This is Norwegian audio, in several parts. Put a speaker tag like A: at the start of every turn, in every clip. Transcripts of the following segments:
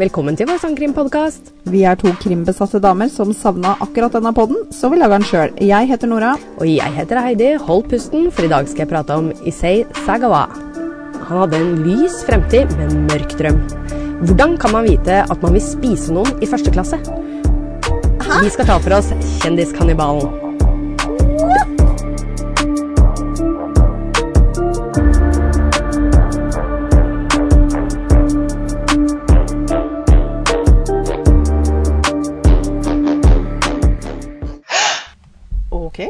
A: Velkommen til vår sangkrimpodkast.
B: Vi er to krimbesatte damer som savna akkurat denne podden, så vi lager den sjøl. Jeg heter Nora.
A: Og jeg heter Heidi. Hold pusten, for i dag skal jeg prate om Issei Sagawa. Han hadde en lys fremtid, men mørk drøm. Hvordan kan man vite at man vil spise noen i første klasse? Vi skal ta for oss Kjendiskannibalen.
B: Ok.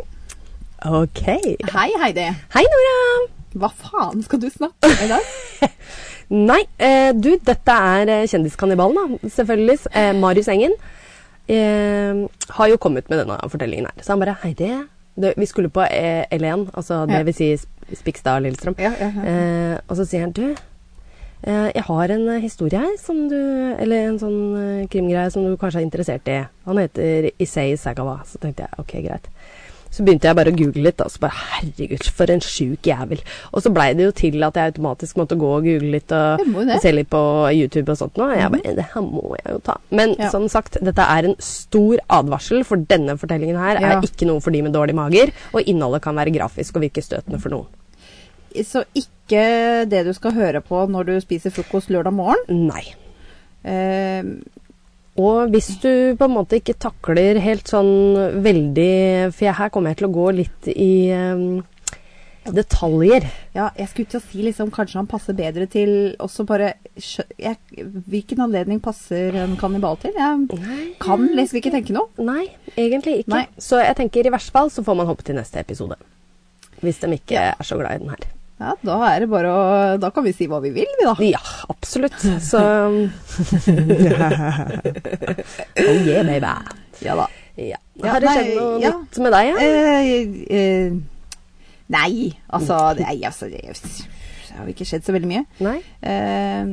A: Ok.
B: Hei, Heidi.
A: Hei, Nora.
B: Hva faen skal du snakke om i dag?
A: Nei, eh, du, dette er eh, Kjendiskannibalen, da. Selvfølgelig. Eh, Marius Engen eh, har jo kommet med denne fortellingen her. Så han bare Heidi, du, vi skulle på eh, L1, altså det
B: Ja.
A: vil si Sp- Spikstad og Lillestrøm.
B: Ja, ja, ja.
A: Eh, og så sier han du, eh, jeg har en eh, historie her, som du, eller en sånn eh, krimgreie som du kanskje er interessert i. Han heter Issei Sagawa. Så tenkte jeg ok, greit. Så begynte jeg bare å google litt, da. Så bare herregud, for en sjuk jævel. Og så blei det jo til at jeg automatisk måtte gå og google litt og,
B: Det må jo det. Mhm.
A: og se litt på YouTube og sånt nå. Og jeg bare det her må jeg jo ta. Men
B: Ja.
A: som sagt, dette er en stor advarsel, for denne fortellingen her
B: Ja.
A: er ikke noe for de med dårlig mager. Og innholdet kan være grafisk og virke støtende for noen.
B: Så ikke det du skal høre på når du spiser frokost lørdag morgen.
A: Nei.
B: Eh,
A: Og hvis du på en måte ikke takler helt sånn veldig For jeg, her kommer jeg til å gå litt i eh, detaljer.
B: ja, jeg skulle til å si liksom kanskje han passer bedre til også bare skjø- jeg, Hvilken anledning passer en kannibal til? Jeg kan liksom ikke tenke noe.
A: Nei, egentlig ikke.
B: Nei.
A: Så jeg tenker i verste fall så får man hoppe til neste episode. Hvis de ikke er så glad i den her.
B: Ja, da er det bare å Da kan vi si hva vi vil, vi, da.
A: Ja, absolutt. Så Oh yeah, baby.
B: Ja
A: Ja.
B: da. Oh Ja,
A: Har det skjedd
B: nei,
A: noe
B: ja.
A: nytt med deg? Ja?
B: Eh, eh, nei, altså Nei, altså det, det har jo ikke skjedd så veldig mye.
A: Nei?
B: Eh,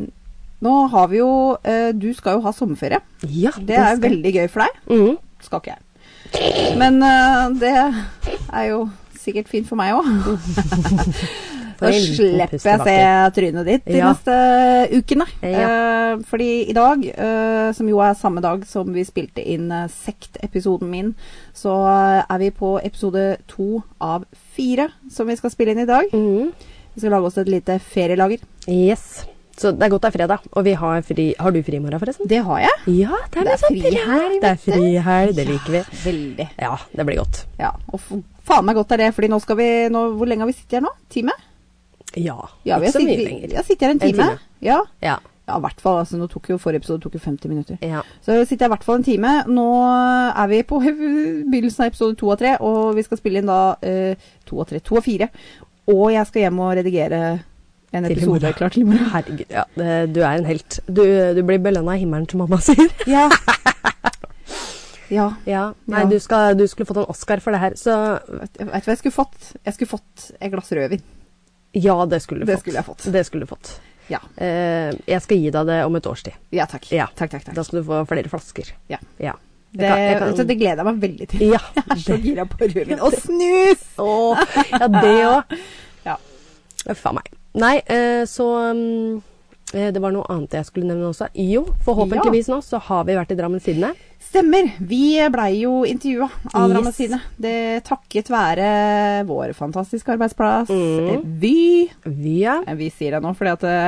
B: nå har vi jo eh, Du skal jo ha sommerferie.
A: Ja,
B: Eh, Det er jo veldig gøy for deg.
A: Mhm.
B: Skal ikke jeg. Men eh, det er jo sikkert fint for meg òg.
A: Får
B: Da
A: en liten
B: slipper jeg se
A: pustebakke.
B: trynet ditt de
A: Ja.
B: neste ukene.
A: Ja.
B: Eh, fordi i dag, eh, som jo er samme dag som vi spilte inn eh, sektepisoden min, så eh, er vi på episode to av fire som vi skal spille inn i dag.
A: Mhm.
B: Vi skal lage oss et lite ferielager.
A: Yes. Så det er godt det er fredag, og vi har fri Har du fri i morgen, forresten?
B: Det har jeg.
A: Ja, det er,
B: Det er
A: litt sånn
B: frihelg,
A: Det er
B: vet du.
A: frihelg, det liker vi.
B: Veldig.
A: Ja, det blir godt.
B: Ja, og f faen meg godt er det, fordi nå skal vi nå, Hvor lenge har vi sittet her nå? Time?
A: Ja,
B: Ja,
A: ikke
B: vi har
A: så mye
B: sittet, vi
A: lenger.
B: har sittet her en
A: En
B: time.
A: time.
B: Ja,
A: Ja.
B: ja i hvert fall. Altså, nå tok jo forrige episode tok jo 50 minutter.
A: ja.
B: Så sitter jeg i hvert fall en time. Nå er vi på begynnelsen av episode to av tre, og vi skal spille inn da eh, to av tre, to av fire. Og jeg skal hjem og redigere en
A: Til i
B: episode
A: morgen.
B: klar til i morgen.
A: Herregud, ja. det- Du er en helt. Du, du blir belønna i himmelen, som mamma sier.
B: Ja. ja.
A: Ja. Nei,
B: Ja.
A: Du, skal, du skulle fått en Oscar for det her, så
B: Vet vet du hva jeg skulle fått? Jeg skulle fått et glass rødvin.
A: ja, det skulle du
B: Det
A: fått.
B: skulle jeg fått.
A: Det skulle du fått.
B: Ja.
A: Eh, jeg skal gi deg det om et års tid.
B: Ja, takk.
A: Ja.
B: Takk, takk, takk.
A: Da skal du få flere flasker.
B: Ja.
A: Ja. Jeg
B: Det,
A: kan- jeg kan-
B: vet du, det gleder jeg meg veldig til.
A: Ja.
B: Jeg er så gira på rødvin. Og snus!
A: Åh, ja, det òg.
B: Ja.
A: Uff a meg. Nei, eh, så mm, eh, Det var noe annet jeg skulle nevne også. Jo, forhåpentligvis nå så har vi vært i Drammen Sidene.
B: Stemmer. Vi blei jo intervjua av
A: Yes.
B: Drammen Sidene. Det takket være vår fantastiske arbeidsplass,
A: Mm.
B: Vy.
A: Via
B: Eh, Vi sier det nå, for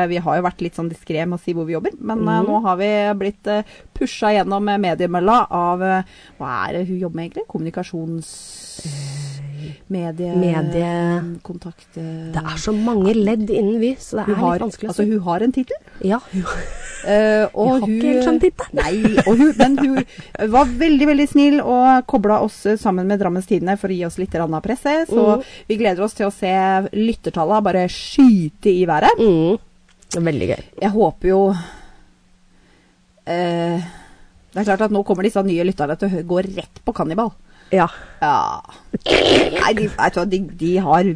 B: vi har jo vært litt sånn diskré med å si hvor vi jobber. Men
A: Mm.
B: eh, nå har vi blitt uh, pusha gjennom eh, mediemølla av eh, Hva er det hun jobber med, egentlig? Kommunikasjons... Medie...
A: Eh, medie...
B: Kontakt...
A: Det er så mange ledd innen Vy, så det er
B: hun har,
A: litt vanskelig å
B: altså,
A: si.
B: hun har en tittel.
A: Ja.
B: Eh,
A: Jeg
B: og
A: har
B: hun,
A: ikke helt sånn skjønt dette.
B: Nei, og hun, men hun var veldig veldig snill og kobla oss sammen med Drammens Tidende for å gi oss litt grann av presse. Så
A: Mhm.
B: vi gleder oss til å se lyttertallene bare skyte i været.
A: Mm. Det er Veldig gøy.
B: Jeg håper jo eh, Det er klart at nå kommer disse nye lytterne til å hø- gå rett på kannibal.
A: Ja.
B: Ja Nei, de, vet du hva, de, de har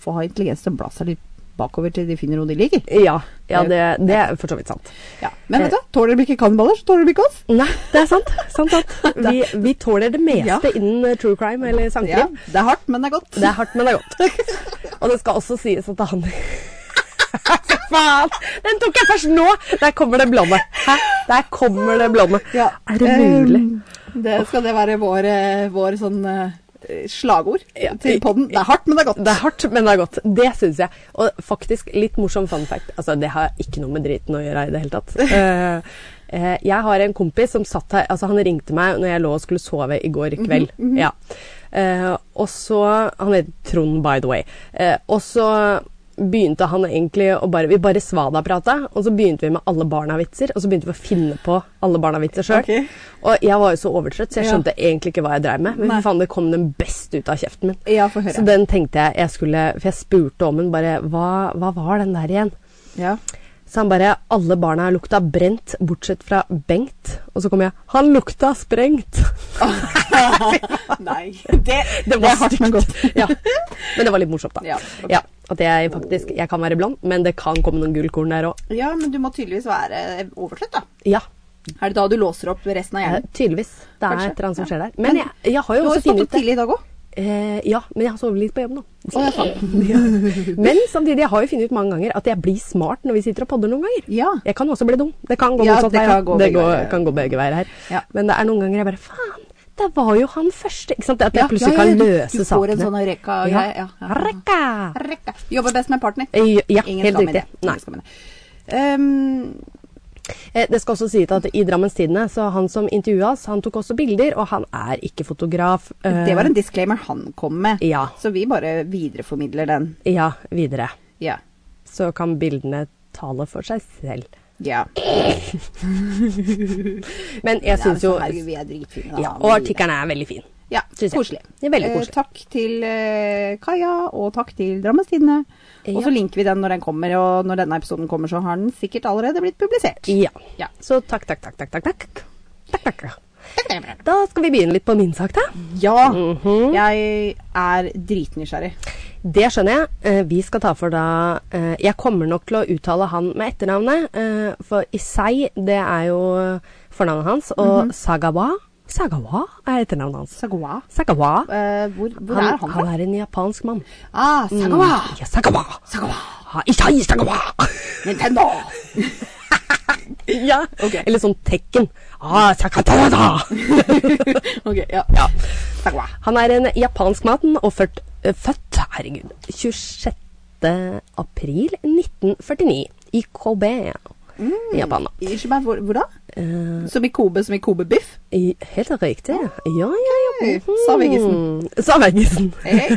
B: får ha intelligens til å bla seg litt bakover til de finner noe de liker.
A: Ja, ja det, det er for så vidt sant.
B: Ja. Men vet du, hva, tåler de ikke kannibaler, så tåler de ikke oss.
A: Nei, det er sant. sant, sant. Vi, vi tåler det meste
B: Ja.
A: innen eh, true crime eller
B: Ja,
A: sangkrim.
B: det er hardt, men det er godt.
A: Det er hardt, men det er godt. Og det skal også sies at han Faen! Den tok jeg først nå! Der kommer den blonde. Hæ? Der kommer det blonde.
B: Ja.
A: Er det mulig?
B: Um, det, skal det være vår, eh, vår sånn eh, slagord
A: Ja.
B: til podden? Det er hardt, men det er godt.
A: Det er hardt, men det er godt. Det syns jeg. Og faktisk, litt morsom fun fact. Altså, det har ikke noe med driten å gjøre i det hele tatt. Eh, eh, jeg har en kompis som satt her Altså, han ringte meg når jeg lå og skulle sove i går
B: Mhm,
A: kveld. Ja. Eh, og så Han heter Trond, by the way. Eh, og så begynte han egentlig å bare Vi bare svada-prata, og så begynte vi med alle barna-vitser. Og så begynte vi å finne på alle barna-vitser sjøl.
B: Ok.
A: Og jeg var jo så overtrøtt, så jeg
B: Ja.
A: skjønte egentlig ikke hva jeg dreiv med.
B: Nei.
A: Men faen, det kom den best ut av kjeften min.
B: Ja, få høre.
A: Så den tenkte jeg jeg skulle For jeg spurte om den bare hva, hva var den der igjen?
B: Ja.
A: Så han bare Alle barna lukta brent, bortsett fra Bengt. Og så kom jeg Han lukta sprengt!
B: Nei. Det,
A: Det
B: Det
A: var
B: er hardt, men
A: stygt. Ja. Men det var litt morsomt, da.
B: Ja, ok.
A: At jeg faktisk Jeg kan være blond, men det kan komme noen gullkorn der òg.
B: ja, men du må tydeligvis være overtrøtt, da.
A: Ja.
B: Er det da du låser opp resten av
A: eh,
B: hjernen?
A: Tydeligvis. Det er
B: Kanskje,
A: et eller annet som
B: ja.
A: skjer der. Men jeg, jeg har
B: Du
A: jo
B: har jo
A: også
B: stått
A: funnet
B: opp
A: ut det.
B: tidlig i dag òg.
A: Eh, ja, men jeg har sovet litt på jobb nå.
B: Å, ja, faen.
A: Men samtidig, jeg har jo funnet ut mange ganger at jeg blir smart når vi sitter og podder noen ganger.
B: Ja.
A: Jeg kan også bli dum. Det kan gå
B: Ja,
A: motsatt
B: det
A: vei.
B: kan
A: ja.
B: gå
A: det
B: begge
A: går,
B: veier.
A: kan gå begge veier her.
B: Ja.
A: Men det er noen ganger jeg bare Faen, det var jo han første! Ikke sant? At jeg plutselig
B: du-
A: kan løse
B: Du får en
A: sakene.
B: sånn rekka
A: ja.
B: greie. Ja, ja.
A: Rekka!
B: Rekka. Jobber best med partner.
A: Eh, Ja,
B: Ingen
A: helt
B: skal med
A: riktig.
B: det.
A: Nei.
B: Ingen skal med det. Ehm,
A: Eh, Det skal også sies at i Drammens Tidende, så han som intervjua oss, han tok også bilder, og han er ikke fotograf. Eh,
B: det var en disclaimer han kom med,
A: Ja.
B: så vi bare videreformidler den.
A: Ja, videre.
B: Ja.
A: Så kan bildene tale for seg selv.
B: ja.
A: Men jeg syns jo
B: Ja, herregud, vi er dritfine, da.
A: ja, Og artikkelen er veldig fin.
B: Ja,
A: Synes jeg.
B: koselig.
A: Det er veldig
B: Eh,
A: koselig.
B: takk til eh, Kaja, og takk til Drammenstidene. Og
A: Ja.
B: så linker vi den når den kommer, og når denne episoden kommer, så har den sikkert allerede blitt publisert.
A: Ja.
B: Ja.
A: Så takk, takk, takk, takk, takk. takk. Takk, takk. Da skal vi begynne litt på min sak, da.
B: Ja, jeg er dritnysgjerrig.
A: Det skjønner jeg. Eh, vi skal ta for da eh, Jeg kommer nok til å uttale han med etternavnet. Eh, for Isai, det er jo fornavnet hans. Og
B: Mhm.
A: Sagawa Sagawa er etternavnet hans.
B: Sagawa.
A: Sagawa.
B: Eh, hvor hvor er han fra?
A: han Mm. er en japansk mann.
B: Ah, Sagawa!
A: Ja, Sagawa.
B: Sagawa!
A: Ha, Isai Sagawa.
B: Nintendo!
A: ja.
B: Ok.
A: Eller sånn Tekken. Ah, Sakatada.
B: ok, ja. Sagawa.
A: Han er en japansk mann og ført, eh, født herregud, 26. april 1949 i Kobe
B: Mm.
A: i Japan. da.
B: Unnskyld meg, hvor, hvor da?
A: Eh,
B: Som i Kobe, som i Kobe-biff?
A: i, helt riktig. Ja, ja, ja.
B: Hei,
A: mhm.
B: sa Veggesen.
A: Sa Veggesen.
B: Hey.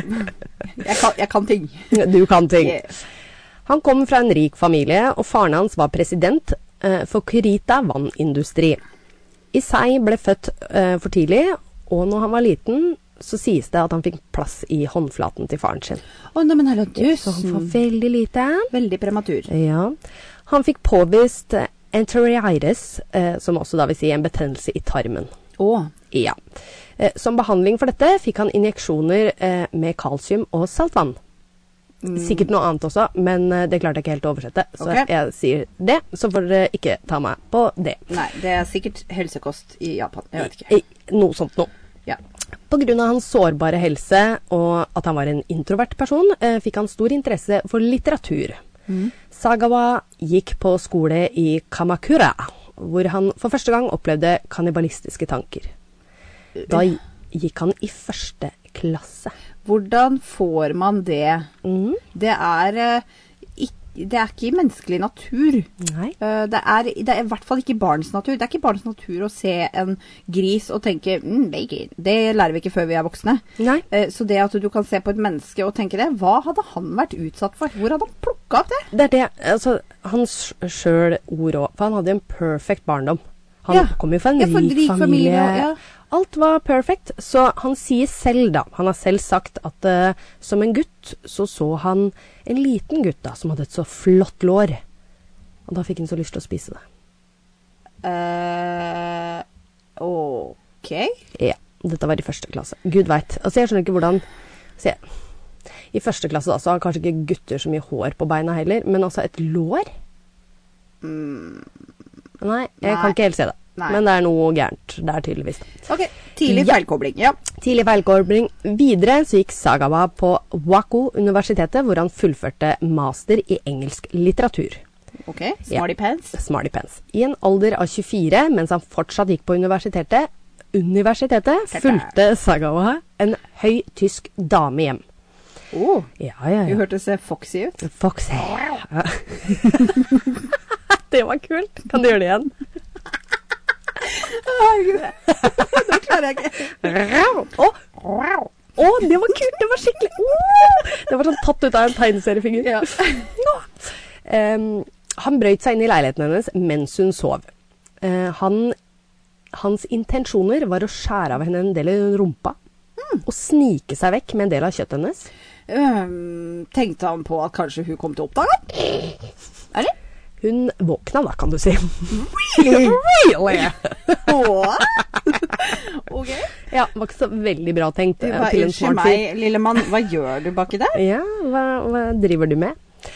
B: Jeg, kan, jeg kan ting.
A: Du kan ting.
B: Yeah.
A: Han kom fra en rik familie, og faren hans var president eh, for Kurita vannindustri. Isai ble født eh, for tidlig, og når han var liten, så sies det at han fikk plass i håndflaten til faren sin.
B: Å, nei, men herre
A: Så han
B: tusen.
A: var veldig liten.
B: Veldig prematur.
A: Ja. Han fikk påvist eh, enteritis, eh, som også da vil si en betennelse i tarmen.
B: Å,
A: Ja. Eh, som behandling for dette fikk han injeksjoner eh, med kalsium og saltvann. Sikkert noe annet også, men eh, det klarte jeg ikke helt å oversette. Så
B: Mm. Ok.
A: jeg sier det, så får dere ikke ta meg på det.
B: nei, det er sikkert helsekost i Japan. Jeg vet ikke.
A: I, noe sånt noe.
B: Ja.
A: På grunn av hans sårbare helse og at han var en introvert person, eh, fikk han stor interesse for litteratur. Sagawa gikk på skole i Kamakura, hvor han for første gang opplevde kannibalistiske tanker. Da gi- gikk han i første klasse.
B: Hvordan får man det? Det er eh, ikk- det er ikke i menneskelig natur.
A: Nei.
B: Eh, Det er, det er i hvert fall ikke barns natur. Det er ikke barns natur å se en gris og tenke mm, bacon. Det lærer vi ikke før vi er voksne.
A: Nei.
B: Eh, Så det at du kan se på et menneske og tenke det, hva hadde han vært utsatt for? Hvor hadde han plukka opp det?
A: Det er det altså, Hans sjøl ord òg. For han hadde jo en perfect barndom. Han
B: Ja.
A: kom jo fra en
B: Ja,
A: rik,
B: for en rik familie,
A: familie.
B: ja.
A: Alt var perfect. Så han sier selv, da Han har selv sagt at eh, som en gutt så så han en liten gutt da som hadde et så flott lår. Og da fikk han så lyst til å spise det.
B: Eh, OK.
A: Ja. Dette var i første klasse. Gud veit. Altså, jeg skjønner ikke hvordan altså, jeg, I første klasse da, så har kanskje ikke gutter så mye hår på beina heller, men altså et lår Nei, jeg
B: Mm. Nei.
A: kan ikke helt se det.
B: Nei.
A: Men det er noe gærent der, tydeligvis.
B: Ok, tidlig
A: Ja.
B: feilkobling. Ja.
A: Tidlig feilkobling. Videre så gikk Sagawa på Waco-universitetet, hvor han fullførte master i engelsk litteratur.
B: Ok, smarty pants.
A: Smarty Pants. I en alder av 24, mens han fortsatt gikk på universitetet, universitetet
B: Tete.
A: fulgte Sagawa en høy tysk dame hjem.
B: Oh,
A: Ja, ja,
B: hun
A: ja.
B: hørtes eh, foxy ut.
A: Foxy. Ja. det var kult. Kan du gjøre det igjen?
B: Herregud, det klarer jeg ikke.
A: Å, å, det var kult! Det var skikkelig Å, Det var sånn tatt ut av en tegneseriefigur.
B: Ja.
A: Em, han brøyt seg inn i leiligheten hennes mens hun sov. Eh, han, hans intensjoner var å skjære av henne en del i rumpa. Og snike seg vekk med en del av kjøttet hennes.
B: Øhm, tenkte han på at kanskje hun kom til å oppdage ham? Er det?
A: Hun våkna da, kan du si.
B: Really? ok.
A: Ja, det var ikke så veldig bra tenkt
B: Du
A: eh,
B: bare,
A: til en
B: Unnskyld
A: smart fyr.
B: meg, lille mann, hva gjør du baki der?
A: Ja, hva, hva driver du med?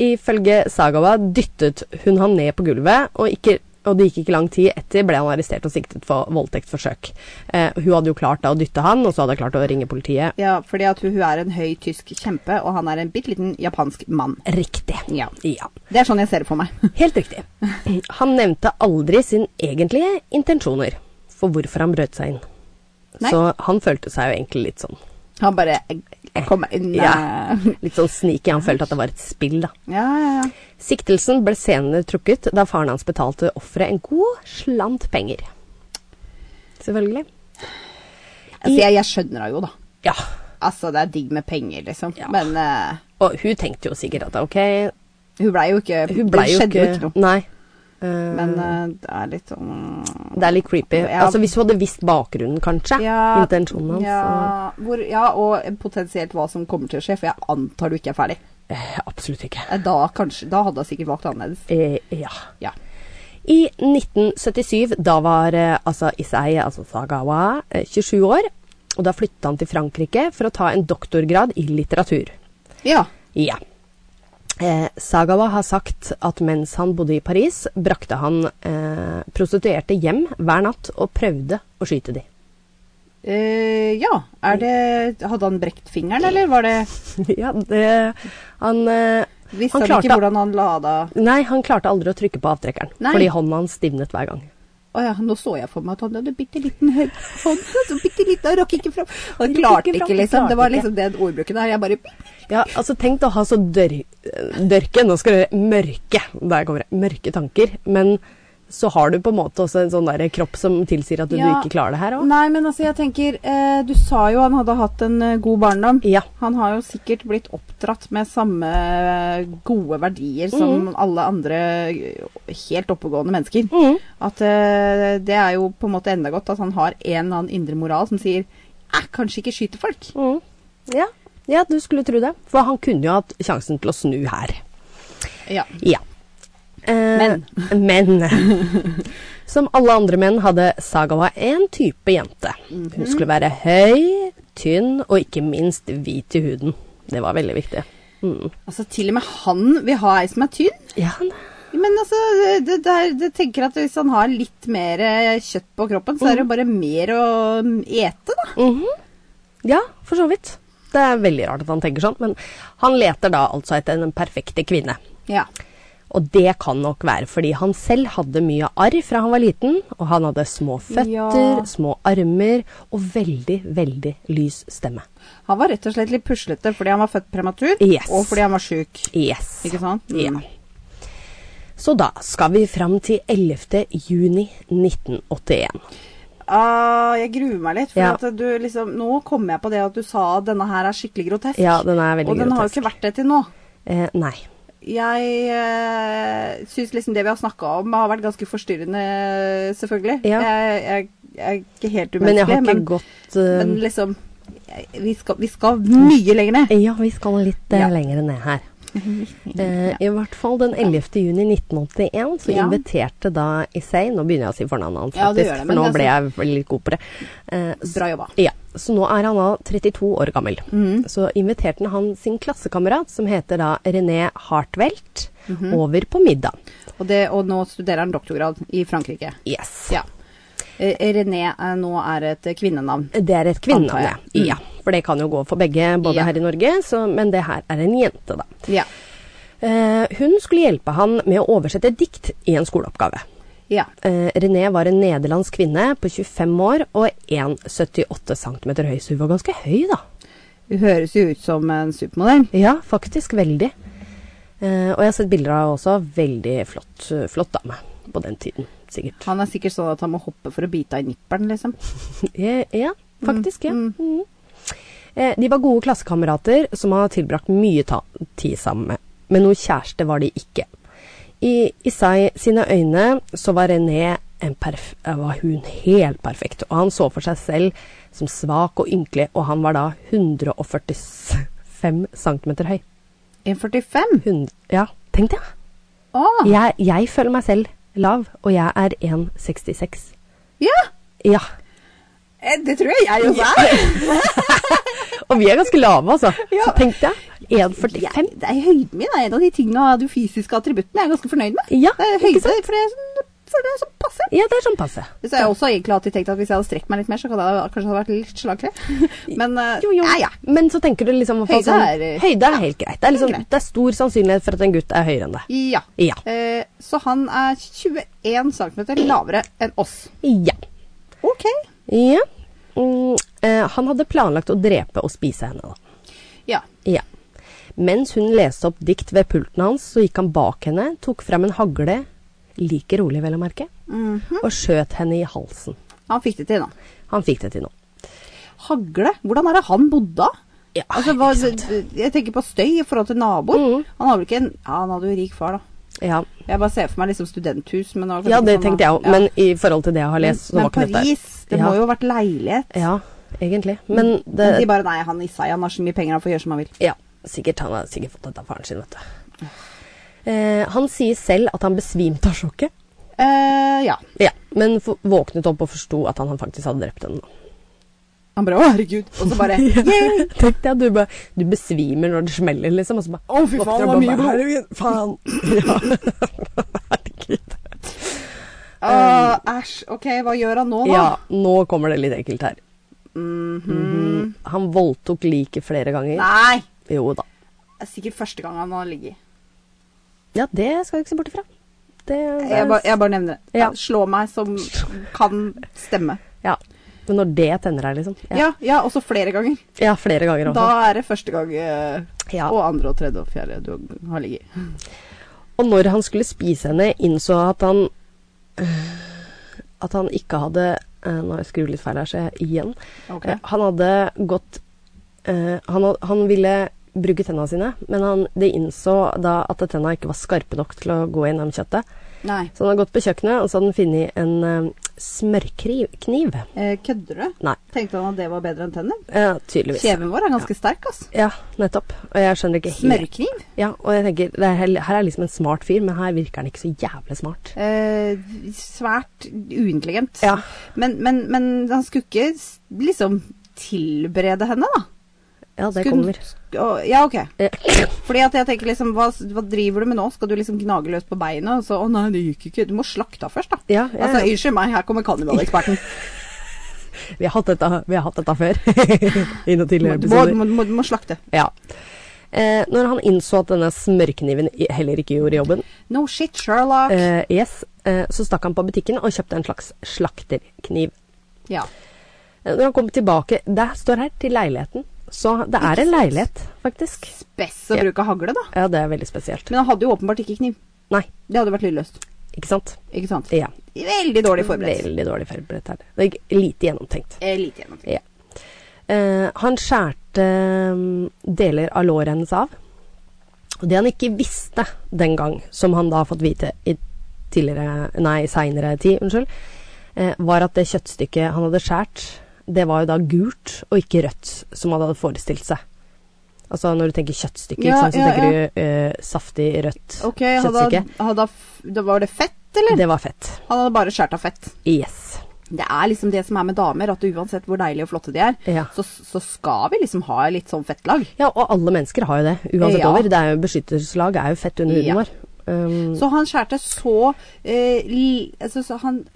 A: Ifølge Sagawa dyttet hun ham ned på gulvet, og, ikke, og det gikk ikke lang tid etter ble han arrestert og siktet for voldtektsforsøk. Eh, hun hadde jo klart da å dytte han, og så hadde hun klart å ringe politiet.
B: Ja, fordi at hun hun er en høy tysk kjempe, og han er en bitte liten japansk mann.
A: Riktig.
B: Ja.
A: Ja,
B: Det er sånn jeg ser det for meg.
A: helt riktig. Han nevnte aldri sin egentlige intensjoner for hvorfor han brøt seg inn.
B: Nei.
A: Så han følte seg jo egentlig litt sånn
B: Han bare eh, kom inn
A: Ja.
B: eh,
A: Litt sånn sneaky. Han følte at det var et spill, da.
B: ja, ja, ja.
A: Siktelsen ble senere trukket da faren hans betalte offeret en god slant penger. Selvfølgelig.
B: Altså, jeg, jeg skjønner henne jo, da.
A: Ja.
B: Altså, det er digg med penger, liksom.
A: Ja.
B: Men eh,
A: Og hun tenkte jo sikkert at ok
B: hun blei jo ikke
A: Hun blei
B: Det
A: jo
B: skjedde
A: ikke,
B: jo ikke noe.
A: Nei. Eh,
B: Men eh, det er litt sånn mm,
A: det er litt creepy.
B: Ja.
A: Altså Hvis hun hadde visst bakgrunnen, kanskje.
B: ja,
A: Intensjonen hans.
B: ja,
A: så-
B: hvor, ja, og potensielt hva som kommer til å skje, for jeg antar du ikke er ferdig.
A: Eh, absolutt ikke.
B: Eh, Da, kanskje, da hadde jeg sikkert valgt annerledes.
A: Eh, ja.
B: Ja.
A: I 1977, da var eh, altså Isai, altså Sagawa, eh, 27 år. Og da flytta han til Frankrike for å ta en doktorgrad i litteratur.
B: ja.
A: Ja. Eh, Sagawa har sagt at mens han bodde i Paris, brakte han eh, prostituerte hjem hver natt og prøvde å skyte de.
B: Eh, ja. Er det Hadde han brekt fingeren, eller var det
A: ja, det, han, eh,
B: Visste
A: han
B: han, ikke
A: klarte
B: hvordan han lada
A: Nei, han klarte aldri å trykke på avtrekkeren,
B: Nei.
A: fordi hånda hans stivnet hver gang.
B: Å ja, nå så jeg for meg at han hadde bitte liten høyde. Så bitte liten, han rakk ikke fram. Han
A: rakk
B: klarte
A: ikke fram,
B: ikke, liksom.
A: klarte
B: Det var
A: ikke.
B: liksom den ordbruken der. Jeg bare
A: Ja, altså Tenk å ha så dør, dørke Nå skal du høre mørke der kommer det, mørke tanker. Men så har du på en måte også en sånn der kropp som tilsier at du,
B: Ja.
A: du ikke klarer det her òg.
B: Nei, men altså, jeg tenker eh, Du sa jo han hadde hatt en eh, god barndom.
A: Ja.
B: Han har jo sikkert blitt oppdratt med samme eh, gode verdier som alle andre eh, helt oppegående mennesker.
A: Mhm.
B: At eh, det er jo på en måte enda godt at han har en eller annen indre moral som sier eh, kanskje ikke skyte folk.
A: Mm. Ja. ja, du skulle tro det. For han kunne jo hatt sjansen til å snu her.
B: Ja.
A: Ja. Eh, men. Som alle andre menn hadde Sagawa én type jente. Hun skulle være høy, tynn og ikke minst hvit i huden. Det var veldig viktig. Mm.
B: Altså, til og med han vil ha ei som er tynn.
A: Ja,
B: Men altså, det, det, er, det tenker at hvis han har litt mer eh, kjøtt på kroppen, så er det jo bare mer å mm, ete, da.
A: mhm. ja, for så vidt. Det er veldig rart at han tenker sånn, men han leter da altså etter den perfekte kvinne.
B: Ja.
A: Og det kan nok være fordi han selv hadde mye arr fra han var liten, og han hadde små føtter,
B: Ja.
A: små armer og veldig, veldig lys stemme.
B: Han var rett og slett litt puslete fordi han var født prematur,
A: Yes.
B: og fordi han var sjuk.
A: Yes.
B: Ikke sant? Mm.
A: Ja. Så da skal vi fram til 11. juni 1981.
B: Ah, jeg gruer meg litt, for
A: Ja.
B: at du liksom Nå kom jeg på det at du sa at denne her er skikkelig grotesk.
A: Ja, den er veldig
B: og den har jo
A: grotesk.
B: ikke vært det til nå.
A: Eh, nei.
B: Jeg eh, syns liksom det vi har snakka om har vært ganske forstyrrende, selvfølgelig.
A: Ja.
B: Jeg, jeg, jeg er ikke helt
A: Men jeg
B: umenneskelig,
A: har ikke gått eh,
B: men liksom jeg- vi skal, vi skal mye lenger ned.
A: Ja, vi skal litt eh,
B: Ja.
A: lenger ned her. Eh, I hvert fall den 11. juni 1981 så
B: Ja.
A: inviterte da Issei Nå begynner jeg å si fornavnet hans,
B: Ja, det gjør
A: faktisk,
B: det,
A: for
B: men
A: nå
B: det
A: ble
B: er
A: jeg veldig litt god på det. Eh, s-
B: Bra jobba. Mhm.
A: Ja, så nå er han da 32 år gammel. Så inviterte han sin klassekamerat, som heter da René Hartwelt,
B: Mhm.
A: over på middag.
B: Og, det, og nå studerer han doktorgrad i Frankrike.
A: Yes.
B: Ja. Eh, René eh, nå er et eh, kvinnenavn.
A: Det er et kvinnenavn,
B: Antar
A: ja.
B: jeg. Mm.
A: ja. For det kan jo gå for begge, både
B: Ja.
A: her i Norge, så, men det her er en jente, da.
B: Ja.
A: Eh, hun skulle hjelpe han med å oversette et dikt i en skoleoppgave.
B: Ja.
A: Eh, René var en nederlandsk kvinne på 25 år og 1,78 cm høy, så hun var ganske høy, da.
B: Hun høres jo ut som en supermodell.
A: Ja, faktisk. Veldig. Eh, og jeg har sett bilder av henne også. Veldig flott, eh, flott dame på den tiden, sikkert.
B: Han er sikkert sånn at han må hoppe for å bite av nipperen, liksom.
A: Eh, ja, faktisk. Ja.
B: Mm,
A: Mhm. Eh, de var gode klassekamerater som har tilbrakt mye ta tid sammen med, men noe kjæreste var de ikke. I, i seg sine øyne så var René en perf eh, var hun helt perfekt, og han så for seg selv som svak og ynkelig, og han var da 145 cm høy.
B: 1,45?
A: Hund- ja, tenk det.
B: Å!
A: Jeg, jeg føler meg selv lav, og jeg er 1,66.
B: Ja!
A: Ja.
B: Eh, Det tror jeg jeg også er.
A: Og vi er ganske lave, altså.
B: Ja.
A: Så tenk deg.
B: Jeg-
A: 1,45.
B: det er høyden min er en av de tingene, de fysiske attributtene jeg er ganske fornøyd med.
A: Ja,
B: det er
A: ikke
B: høyde,
A: sant?
B: for det er sånn, for det er sånn passe.
A: Ja, det er sånn passe.
B: Så jeg har også egentlig alltid tenkt at hvis jeg hadde strekt meg litt mer, så hadde jeg kanskje hadde vært litt slagkraftig. Men eh,
A: Jo, jo.
B: ja, ja.
A: Men så tenker du liksom i hvert fall
B: Høyde
A: sånn-
B: er-
A: Høyde er helt greit. Det er, liksom,
B: greit.
A: det er stor sannsynlighet for at en gutt er høyere enn deg.
B: Ja.
A: Ja.
B: Eh, så han er 21 cm lavere enn oss.
A: Ja.
B: Ok.
A: ja. Mm, eh, han hadde planlagt å drepe og spise henne, da.
B: Ja.
A: Ja. Mens hun leste opp dikt ved pulten hans, så gikk han bak henne, tok frem en hagle, like rolig vel å merke, og skjøt henne i halsen.
B: Han fikk det til, da.
A: Han fikk det til nå.
B: Hagle? Hvordan er det han bodde da?
A: Ja,
B: altså, hva,
A: ikke sant.
B: jeg tenker på støy i forhold til naboer.
A: Mhm.
B: Han hadde vel ikke en Ja, han hadde jo rik far, da.
A: Ja,
B: Jeg bare ser for meg liksom studenthus, men var kanskje
A: ja det
B: ikke sånn,
A: tenkte jeg òg,
B: da. Ja.
A: men i forhold til det jeg har lest, så
B: Men
A: var ikke dette
B: Paris, det
A: ja.
B: må jo ha vært leilighet.
A: Ja, egentlig. Men det
B: Men de bare Nei, han Isai, han har så mye penger, han får gjøre som han vil.
A: Ja, sikkert. Han har sikkert fått dette av faren sin, vet du. Eh, han sier selv at han besvimte av sjokket.
B: Eh, ja.
A: Ja, men f våknet opp og forsto at han faktisk hadde drept henne.
B: Han bare Å, herregud. Og så bare «Yay!»
A: Tenk deg at du, bare, du besvimer når det smeller, liksom. Og så bare
B: Å, fy
A: våkner
B: faen, det var
A: du opp
B: mye
A: og bare,
B: blod.
A: «Herregud, Faen. Ja. Herregud.
B: Åh, Æsj. Ok, hva gjør han nå, da?
A: Ja, nå kommer det litt ekkelt her. Mhm. Han voldtok liket flere ganger.
B: Nei!
A: Jo da.
B: Det er sikkert første gang han har ligget.
A: Ja, det skal du ikke se bort ifra. Det,
B: Jeg bare, jeg bare nevner det.
A: Ja.
B: Slå meg som kan stemme.
A: Ja. Men når det tenner deg, liksom.
B: Ja, ja, også flere ganger.
A: Ja, flere ganger også.
B: Da er det første gang eh,
A: Ja.
B: og andre og tredje og fjerde du har ligget.
A: Og når han skulle spise henne, innså han at han At han ikke hadde eh, Nå har jeg skrudd litt feil her, så jeg igjen.
B: Ok.
A: Eh, Han hadde gått eh, han, had- han ville bruke tenna sine, men han, de innså da at tenna ikke var skarpe nok til å gå gjennom kjøttet.
B: Nei.
A: Så han hadde gått på kjøkkenet, og så hadde han funnet en eh, smørkniv. Kniv.
B: Eh, kødder du?
A: Nei,
B: Tenkte han at det var bedre enn tenner?
A: eh, tydeligvis.
B: Kjeven vår er ganske sterk, ass.
A: Ja, nettopp. Og jeg skjønner ikke helt
B: Smørkniv?
A: ja, og jeg tenker, det er, hel- Her er liksom en smart fyr, men her virker han ikke så jævlig smart.
B: Eh, svært uintelligent.
A: Ja.
B: Men, men, men han skulle ikke s- liksom tilberede henne, da?
A: Ja, det
B: Skulle-
A: kommer.
B: sk- å, Ja, ok.
A: Eh,
B: Fordi at jeg tenker liksom, hva, hva driver du med nå? Skal du liksom gnage løs på beinet? Og så, å nei, det gikk ikke. Du må slakte av først, da.
A: Ja, ja,
B: Altså,
A: ja.
B: unnskyld meg, her kommer kannibaleksperten.
A: Vi har hatt dette, vi har hatt dette før. I noen
B: Du
A: tidligere
B: må,
A: episoder.
B: må, må, må slakte.
A: Ja. Eh, når han innså at denne smørkniven i- heller ikke gjorde jobben,
B: No shit, Sherlock.
A: eh, yes, eh, så stakk han på butikken og kjøpte en slags slakterkniv.
B: ja.
A: Eh, når han kom tilbake Det står her, til leiligheten. Så det er en leilighet, faktisk.
B: Best å
A: Ja.
B: bruke hagle, da.
A: Ja, det er veldig spesielt.
B: Men han hadde jo åpenbart ikke kniv.
A: Nei,
B: Det hadde vært lydløst.
A: ikke sant?
B: Ikke sant?
A: Ja.
B: Veldig dårlig forberedt.
A: Eh. Veldig dårlig forberedt her. Det er lite gjennomtenkt.
B: Eh, lite gjennom.
A: Ja. Eh, han skjærte mm, deler av låret hennes av. Og det han ikke visste den gang, som han da har fått vite i tidligere, nei, seinere tid, unnskyld, eh, var at det kjøttstykket han hadde skjært, det var jo da gult og ikke rødt, som han hadde forestilt seg. Altså når du tenker kjøttstykke,
B: Ja,
A: ikke sant, så
B: ja,
A: tenker du eh, saftig, rødt
B: Ok, hadde,
A: kjøttstykke.
B: hadde, f- det var det fett, eller?
A: Det var fett.
B: Han hadde bare skjært av fett.
A: Yes.
B: Det er liksom det som er med damer, at uansett hvor deilige og flotte de er,
A: Ja.
B: så, så skal vi liksom ha litt sånn fettlag.
A: Ja, og alle mennesker har jo det, uansett
B: Ja.
A: over. Det er jo beskyttelseslag, er jo fett under huden
B: Ja.
A: vår. Um,
B: Så han skjærte så, eh, li, altså, så han,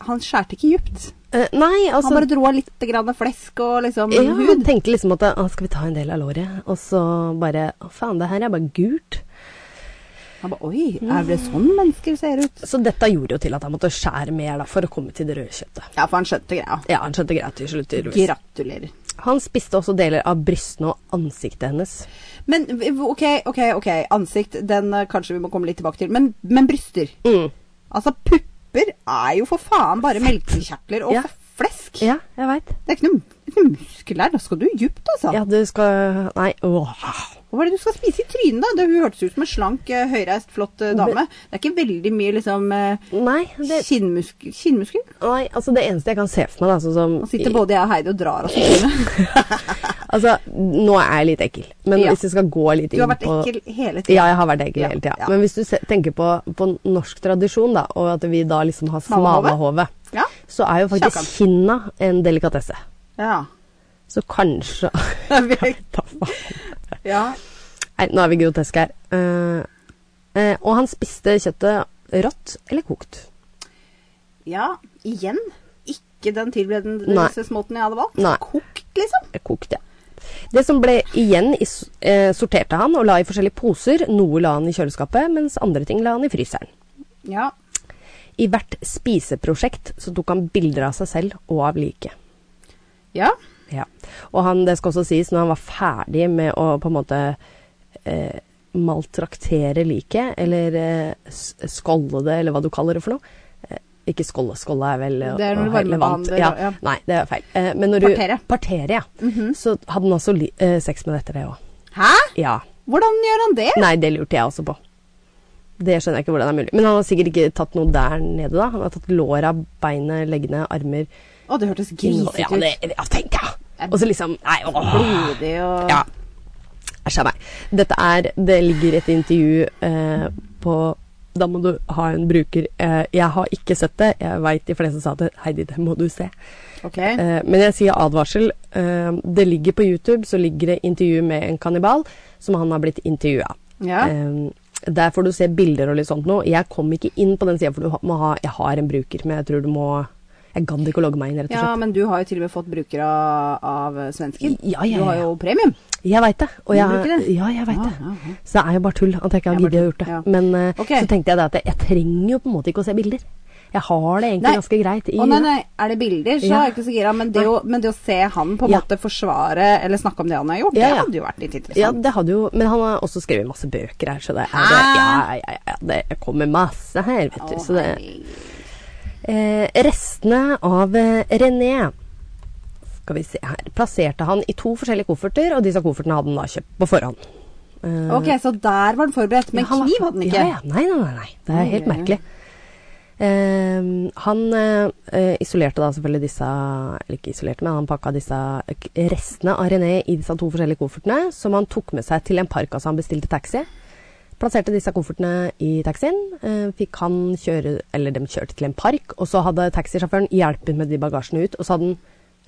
B: han skjærte ikke djupt.
A: eh, nei, altså
B: han bare dro av litt grann av flesk og liksom
A: ja, Han
B: hud.
A: tenkte liksom at ah, skal vi ta en del av låret, og så bare Å, faen, det her er bare gult.
B: Jeg bare, Oi, er det sånn mennesker ser ut?
A: Så dette gjorde jo til at jeg måtte skjære mer da, for å komme til det røde kjøttet.
B: Ja, for han skjønte greia.
A: Ja, han skjønte greit til slutt. tydeligvis.
B: Gratulerer.
A: Han spiste også deler av brystene og ansiktet hennes.
B: Men v- v- OK, ok, ok, ansikt, den eh, kanskje vi må komme litt tilbake til. Men, men bryster.
A: Mm.
B: Altså, pupper er jo for faen bare melkekjertler og
A: Ja.
B: flesk.
A: Ja, jeg veit.
B: Det er ikke noe, ikke noe muskel der. Da skal du dypt, altså.
A: Ja, du skal Nei, åh.
B: Hva er det du skal spise i trynet, da? Det, hun hørtes ut som en slank, eh, høyreist, flott eh, dame. Det er ikke veldig mye liksom eh,
A: Nei, det,
B: kinnmusk- kinnmuskler.
A: nei, altså det eneste jeg kan se for meg, da, sånn som
B: Nå sitter både jeg og Heidi og drar oss i trynet.
A: Altså, nå er jeg litt ekkel, men
B: Ja.
A: hvis vi skal gå litt
B: Du
A: inn på
B: har vært ekkel hele tiden.
A: Ja, jeg har vært ekkel
B: Ja,
A: hele tida.
B: ja.
A: Men hvis du se- tenker på, på norsk tradisjon, da, og at vi da liksom har
B: Smalahove?
A: smalahove,
B: Ja.
A: så er jo faktisk
B: Kjakan.
A: kinna en delikatesse.
B: Ja.
A: Så kanskje Da faen.
B: ja.
A: Nei, nå er vi groteske her. Eh, eh, og han spiste kjøttet rått eller kokt.
B: ja. Igjen. Ikke den
A: Nei.
B: tilberedelsesmåten jeg hadde valgt.
A: Nei.
B: Kokt, liksom.
A: Eh, Kokt, ja. Det som ble igjen, i, s- eh, sorterte han og la i forskjellige poser. Noe la han i kjøleskapet, mens andre ting la han i fryseren.
B: Ja.
A: I hvert spiseprosjekt så tok han bilder av seg selv og av liket.
B: Ja.
A: Ja. Og han, det skal også sies, når han var ferdig med å på en måte eh, maltraktere liket, eller eh, s- skålde det, eller hva du kaller det for noe. Eh, ikke skålde, skålde er vel eh,
B: Det er når du
A: helt
B: varmebehandler,
A: relevant. ja.
B: ja.
A: Nei, det er feil. Eh, men når du
B: Partere. Mhm.
A: Partere, ja. Så hadde han også li eh, sex med det etter det òg.
B: Hæ?
A: Ja.
B: Hvordan gjør han det?
A: Nei, det lurte jeg også på. Det skjønner jeg ikke hvordan er mulig. Men han har sikkert ikke tatt noe der nede, da. Han har tatt låra, beinet, leggene, armer
B: Å, det hørtes
A: innhold-
B: grisete
A: Ja,
B: ut.
A: det, ja tenk deg! Og så liksom Nei, åh.
B: Blodig og
A: Ja. Æsj a meg. Dette er Det ligger et intervju eh, på Da må du ha en bruker. Eh, jeg har ikke sett det. Jeg veit de fleste sa det. Heidi, det må du se.
B: Ok.
A: Eh, men jeg sier advarsel. Eh, det ligger på YouTube, så ligger det intervju med en kannibal som han har blitt intervjua.
B: Ja.
A: Eh, der får du se bilder og litt sånt noe. Jeg kom ikke inn på den sida, for du ha- må ha, jeg har en bruker, men jeg tror du må Jeg gadd ikke å logge meg inn, rett og
B: ja,
A: slett.
B: men du har jo til og med fått brukere av, av svensken.
A: Ja, ja,
B: Du har
A: ja.
B: jo premium.
A: Jeg veit det. Og
B: Du
A: jeg,
B: bruker det?
A: Ja, jeg vet
B: Ja,
A: det.
B: ja, ja.
A: Så det er jo bare tull at jeg ikke har
B: Det er
A: giddet å
B: bare
A: gjort det.
B: tull, ja.
A: Men eh,
B: Ok.
A: så tenkte jeg det at jeg, jeg trenger jo på en måte ikke å se bilder. Jeg har det egentlig
B: Nei.
A: ganske greit i
B: Å nei, nei, er det bilder, så
A: Ja.
B: er jeg ikke så gira. Men, det å- men det å se han på en
A: Ja.
B: måte forsvare eller snakke om det han har gjort,
A: Ja,
B: det
A: ja.
B: hadde jo vært litt
A: Ja,
B: interessant.
A: det hadde jo Men han har også skrevet masse bøker her, så det er det,
B: Hæ?
A: ja, ja, ja, det kommer masse her, vet du.
B: Å,
A: Så det,
B: herregud.
A: Eh, restene av eh, René skal vi se her, plasserte han i to forskjellige kofferter, og disse koffertene hadde han da kjøpt på forhånd. Eh,
B: Ok, så der var han forberedt, men
A: han var-
B: kniv hadde han ikke.
A: Ja, ja. Nei, nei, nei, nei. Det er helt
B: Oi, oi, oi.
A: merkelig. Eh, han eh, eh, isolerte da selvfølgelig disse Eller ikke isolerte, men han pakka disse k- restene av René i disse to forskjellige koffertene, som han tok med seg til en park. Altså han bestilte taxi. Plasserte disse koffertene i taxien. eh, fikk han kjøre Eller dem kjørte til en park, og så hadde taxisjåføren hjulpet med de bagasjene ut. Og så hadde han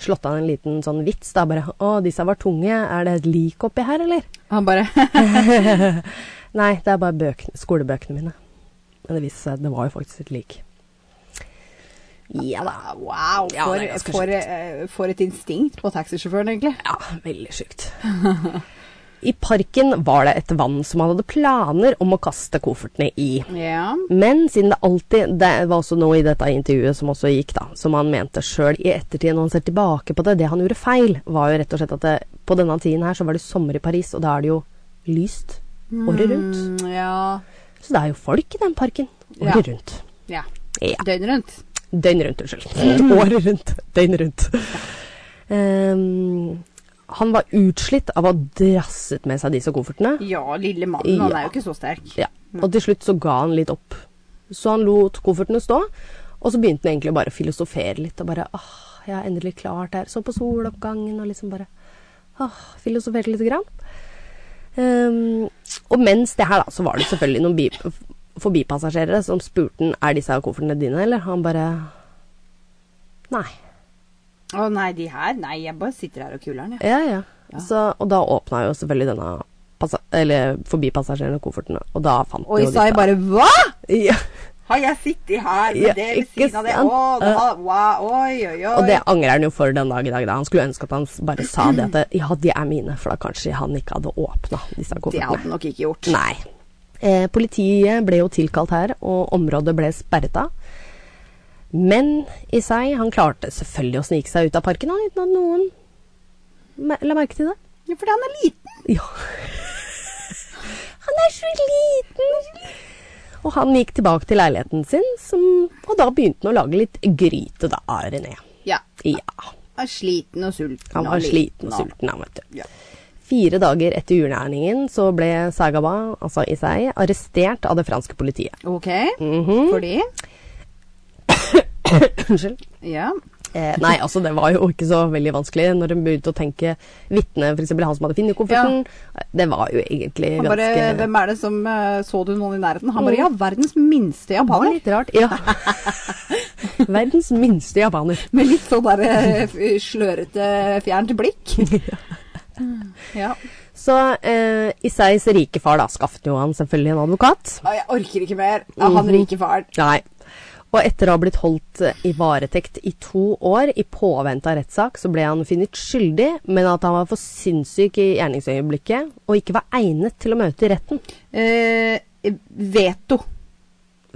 A: slått an en liten sånn vits, da bare Å, disse var tunge. Er det et lik oppi her, eller?
B: Han bare
A: Nei, det er bare bøkene, skolebøkene mine. Men det viste seg at det var jo faktisk et lik. Ja da.
B: Wow,
A: Ja,
B: for,
A: det er ganske
B: for,
A: sjukt.
B: eh, for et instinkt på taxisjåføren, egentlig.
A: Ja, veldig sjukt. I parken var det et vann som han hadde planer om å kaste koffertene i.
B: Ja.
A: Men siden det alltid Det var også noe i dette intervjuet som også gikk, da. Som han mente sjøl i ettertid, når han ser tilbake på det. Det han gjorde feil, var jo rett og slett at det, på denne tiden her så var det sommer i Paris, og da er det jo lyst året rundt.
B: Mm, ja.
A: Så det er jo folk i den parken
B: Ja.
A: året rundt.
B: ja.
A: Ja.
B: Døgnet rundt.
A: Døgnet rundt, unnskyld. Året rundt. Døgnet rundt. Ehm, han var utslitt av å ha drasset med seg disse koffertene.
B: Ja, lille mannen, han
A: Ja.
B: er jo ikke så sterk.
A: Ja. Og til slutt så ga han litt opp. Så han lot koffertene stå, og så begynte han egentlig bare å filosofere litt. Og bare åh, jeg er endelig klart her. Så på soloppgangen og liksom bare åh, filosoferte lite grann. Ehm, og mens det her, da, så var det selvfølgelig noen bi forbipassasjerere som spurte han er disse koffertene dine, eller? Han bare Nei.
B: Å nei, de her? Nei, jeg bare sitter her og kuler'n, jeg.
A: Ja, ja. Så, og da åpna jo selvfølgelig denne passa eller forbipassasjeren og kofferten, og da fant
B: Og
A: han jo
B: Isai
A: disse.
B: bare Hva?!
A: Ja.
B: Har jeg sittet her med
A: Ja,
B: det ved
A: ikke
B: siden av det?
A: sant?
B: Å, da, wow, oi, oi, oi.
A: Og det angrer han jo for den dag i dag. da. Han skulle ønske at han s- bare sa det at det- ja, de er mine, for da kanskje han ikke hadde åpna disse
B: Det
A: koffertene.
B: hadde han nok ikke gjort.
A: Nei. Eh, politiet ble jo tilkalt her, og området ble sperret av. Men i seg, han klarte selvfølgelig å snike seg ut av parken han, uten at noen mer- la merke til det.
B: Ja, fordi han er liten.
A: Ja. Han er så liten! Og han gikk tilbake til leiligheten sin, som, og da begynte han å lage litt gryte, da, av René.
B: Ja.
A: Ja,
B: Han er sliten og sulten.
A: han var sliten og sulten, han, vet du.
B: Ja.
A: Fire dager etter jordnæringen så ble Sagaba, altså Isai, arrestert av det franske politiet.
B: Ok.
A: Mhm.
B: Fordi
A: Unnskyld.
B: Ja.
A: Eh, nei, altså det var jo ikke så veldig vanskelig når de begynte å tenke vitne, f.eks. han som hadde funnet kofferten. Det var jo egentlig
B: Han bare,
A: ganske
B: Hvem er det som eh, Så du noen i nærheten? Han bare Ja, verdens minste
A: Det var
B: japaner.
A: litt rart. Ja. Verdens minste japaner.
B: Med litt sånn der eh, f- slørete, fjernt blikk. Ja.
A: Så eh, Isais rike far da skaffet jo han selvfølgelig en advokat.
B: Å, Jeg orker ikke mer
A: Mhm.
B: av han rike faren.
A: Nei. Og etter å ha blitt holdt eh, i varetekt i to år i påvente av rettssak, så ble han funnet skyldig, men at han var for sinnssyk i gjerningsøyeblikket og ikke var egnet til å møte i retten.
B: Eh, veto.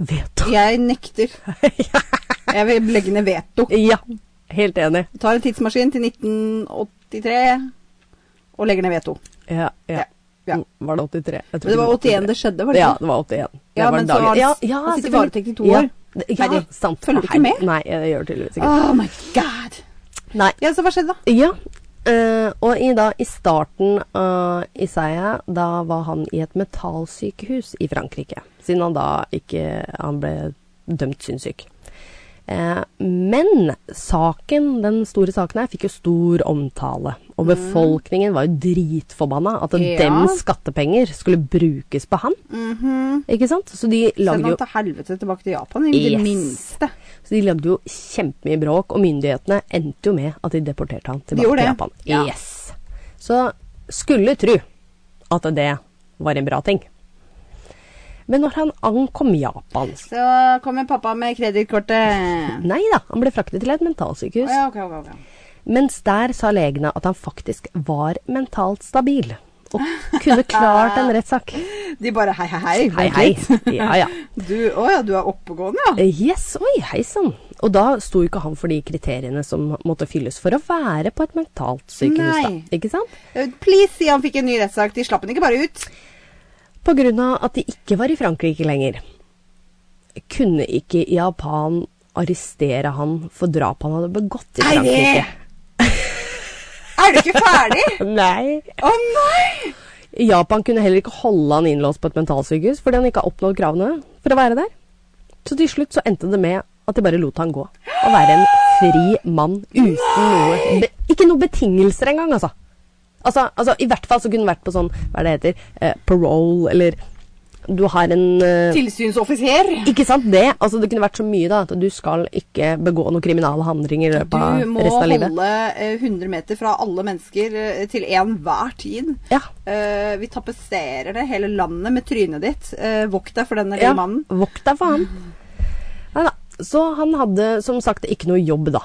A: Vet du?
B: Jeg nekter. Jeg vil legge ned veto.
A: Ja, helt enig.
B: Tar en tidsmaskin til 1983 og legger ned veto.
A: Ja, ja.
B: Ja, ja.
A: Mm, Var det 83? Jeg tror
B: Men det var
A: ikke
B: 81 det skjedde, var det
A: Ja,
B: ikke?
A: det var 81. Det
B: Ja,
A: var
B: men så
A: dagen-
B: var det-
A: ja, ja,
B: han sitter i
A: selvfølgelig.
B: varetekt i to år.
A: Ja, det- ja
B: Herre,
A: sant.
B: følger du ikke med?
A: Nei, jeg gjør tydeligvis ikke
B: Oh my god!
A: Nei.
B: Ja, så hva skjedde da?
A: Ja. eh, og i, da, i starten av Isaiah, da var han i et metallsykehus i Frankrike. Siden han da ikke Han ble dømt sinnssyk. Eh, men saken, den store saken her, fikk jo stor omtale. Og befolkningen var jo dritforbanna at
B: Ja.
A: dems skattepenger skulle brukes på han. Ikke sant? Så de
B: Send
A: lagde jo
B: han Mhm. til helvete tilbake til Japan, i det
A: Yes.
B: minste.
A: så de lagde jo kjempemye bråk, og myndighetene endte jo med at de deporterte han
B: De
A: tilbake til
B: gjorde det?
A: Japan.
B: Ja.
A: Yes. Så skulle tro at det var en bra ting. Men når han ankom Japan
B: Så kommer pappa med kredittkortet.
A: Nei da, han ble fraktet til et
B: Å
A: mentalsykehus.
B: ja, ok, ok, ok.
A: Mens der sa legene at han faktisk var mentalt stabil. Og kunne klart en rettssak.
B: De bare hei, hei, hei.
A: Hei,
B: vent
A: hei.
B: litt.
A: Ja, ja.
B: Du, å ja, du er oppegående, ja.
A: Eh, Yes, oi, hei sann. Og da sto jo ikke han for de kriteriene som måtte fylles for å være på et mentalt sykehus,
B: Nei.
A: da. Ikke sant?
B: Eh, Please si han fikk en ny rettssak. De slapp han ikke bare ut.
A: På grunn av at de ikke var i Frankrike lenger, kunne ikke Japan arrestere han for drap han hadde begått i
B: Nei, det-
A: Frankrike.
B: Er du ikke ferdig?
A: Nei.
B: Å nei!
A: Japan kunne heller ikke holde han innlåst på et mentalsykehus fordi han ikke har oppnådd kravene for å være der. Så til slutt så endte det med at de bare lot han gå. Og være en fri mann uten noe be, Ikke noen betingelser engang, altså. altså. Altså, I hvert fall så kunne han vært på sånn, hva er det heter, eh, parole eller Du har en eh,
B: Tilsynsoffiser.
A: Ikke sant det? Altså, det kunne vært så mye da, at du skal ikke begå noen kriminale handlinger i
B: Du
A: løpet av
B: må
A: resten av livet.
B: holde eh, 100 meter fra alle mennesker eh, til enhver tid.
A: Ja.
B: Eh, vi tapetserer det hele landet med trynet ditt. Eh, vokt deg for denne lille
A: Ja,
B: mannen.
A: vokt deg for han. Nei da. Så han hadde som sagt ikke noe jobb, da.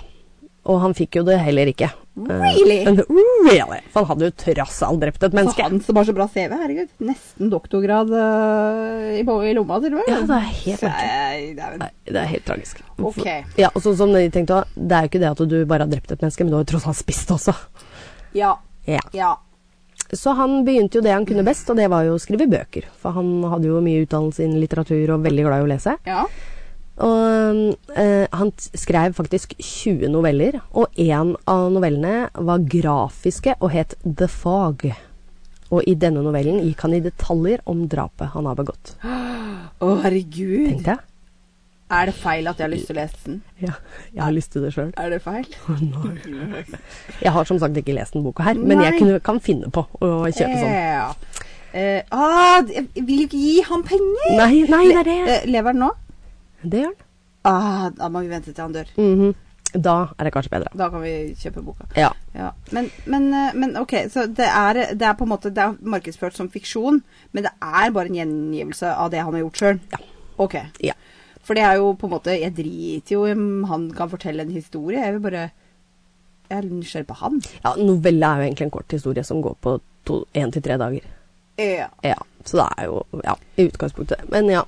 A: Og han fikk jo det heller ikke. Eh,
B: Really?
A: men- really? For han hadde jo trass alt drept et
B: Så
A: menneske.
B: han som har så bra CV, herregud. Nesten doktorgrad eh, i, bo- i lomma, til og med.
A: Ja, det er helt
B: Så,
A: merkelig.
B: eh, det er vel-
A: Nei, det er helt tragisk.
B: Ok.
A: Ja, og sånn som de tenkte, også, Det er jo ikke det at du bare har drept et menneske, men du har jo tross alt spist også.
B: Ja.
A: Ja.
B: ja.
A: Så han begynte jo det han kunne best, og det var jo å skrive bøker. For han hadde jo mye utdannelse innen litteratur og veldig glad i å lese.
B: ja.
A: Og eh, han t- skrev faktisk 20 noveller, og en av novellene var grafiske og het The Fog. Og i denne novellen gikk han i detaljer om drapet han har begått.
B: Å, herregud.
A: Tenkte jeg.
B: Er det feil at jeg har lyst til å lese den?
A: Ja, jeg har lyst til det sjøl.
B: Er det feil?
A: Jeg har som sagt ikke lest den boka her, men jeg
B: Nei.
A: kunne, kan finne på å kjøpe sånn.
B: Ja. Eh, ah, d- jeg vil jo ikke gi han penger!
A: Nei, nei, det er det.
B: Eh, lever han nå?
A: Det gjør den.
B: Ah, da må vi vente til han dør.
A: Mhm. Da er det kanskje bedre.
B: Da kan vi kjøpe boka.
A: Ja.
B: Ja. Men, men, eh, men ok, så det er, det er på en måte det er markedsført som fiksjon, men det er bare en gjengivelse av det han har gjort sjøl?
A: Ja.
B: Ok.
A: ja.
B: For det er jo på en måte Jeg driter jo i om han kan fortelle en historie. Jeg vil bare Jeg er nysgjerrig på han.
A: ja novelle er jo egentlig en kort historie som går på to- én til tre dager.
B: Ja.
A: Ja, så det er jo ja, i utgangspunktet. Men ja.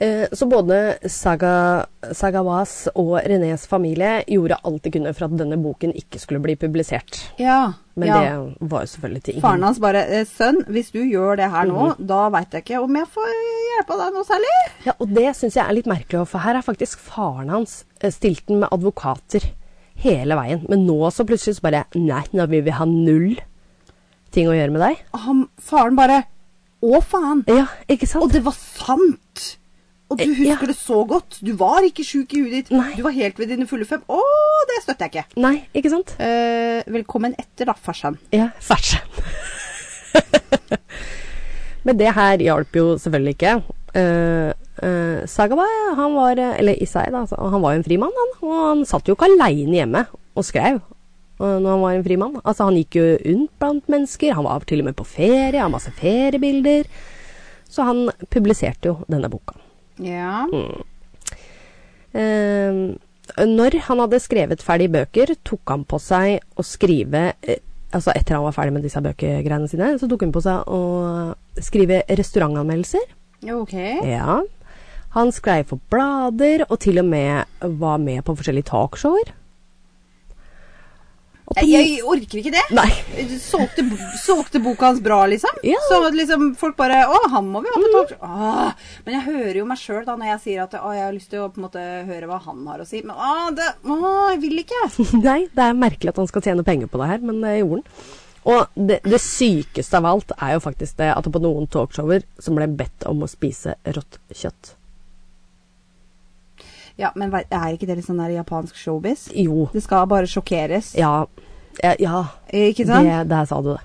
A: Eh, Så både Saga, Sagawas og Renés familie gjorde alt de kunne for at denne boken ikke skulle bli publisert.
B: ja.
A: Men
B: ja.
A: det var jo selvfølgelig til ingen
B: Faren hans bare eh, 'Sønn, hvis du gjør det her nå, da veit jeg ikke om jeg får hjelpe deg noe særlig'.
A: Ja, og det syns jeg er litt merkelig, for her er faktisk faren hans eh, stilt den med advokater hele veien. Men nå så plutselig så bare Nei, nå vil vi ha null ting å gjøre med deg.
B: Han, faren bare 'Å, faen'.
A: Ja, ikke sant?
B: Og det var sant! Og du
A: Eh, ja.
B: husker det så godt. Du var ikke sjuk i huet ditt.
A: Nei.
B: Du var helt ved dine fulle fem. Å, det støtter jeg ikke.
A: Nei, ikke sant?
B: Eh, velkommen etter, da, farsan.
A: Ja, fersen. Men det her hjalp jo selvfølgelig ikke. Uh, Sagawa, han var eh, Eller Isai, da. altså, Han var jo en frimann, han. Og han satt jo ikke aleine hjemme og skrev eh, når han var en frimann. Altså, han gikk jo rundt blant mennesker. Han var til og med på ferie, han har masse feriebilder. Så han publiserte jo denne boka.
B: Ja.
A: Mm. Eh, når han hadde skrevet ferdig bøker, tok han på seg å skrive eh, Altså etter han var ferdig med disse bøkegreiene sine, så tok han på seg å skrive restaurantanmeldelser.
B: Ok.
A: Ja. Han skrev for blader, og til og med var med på forskjellige talkshower. Og på-
B: Jeg, jeg orker ikke det.
A: Nei.
B: Solgte, bo- solgte boka hans bra, liksom?
A: Ja.
B: Så at liksom folk bare Å, han må vi ha på talk. Åh, men jeg hører jo meg sjøl da når jeg sier at å, jeg har lyst til å på en måte høre hva han har å si. Men å, det, å jeg vil ikke.
A: Nei, det er merkelig at han skal tjene penger på det her, men det gjorde han. Og det, det sykeste av alt er jo faktisk det at på noen talkshower så ble han bedt om å spise rått kjøtt.
B: Ja, men vei- er ikke det litt sånn der japansk showbiz?
A: Jo.
B: Det skal bare sjokkeres.
A: Ja. Ja, ja.
B: Ikke sant?
A: Det, der sa du det.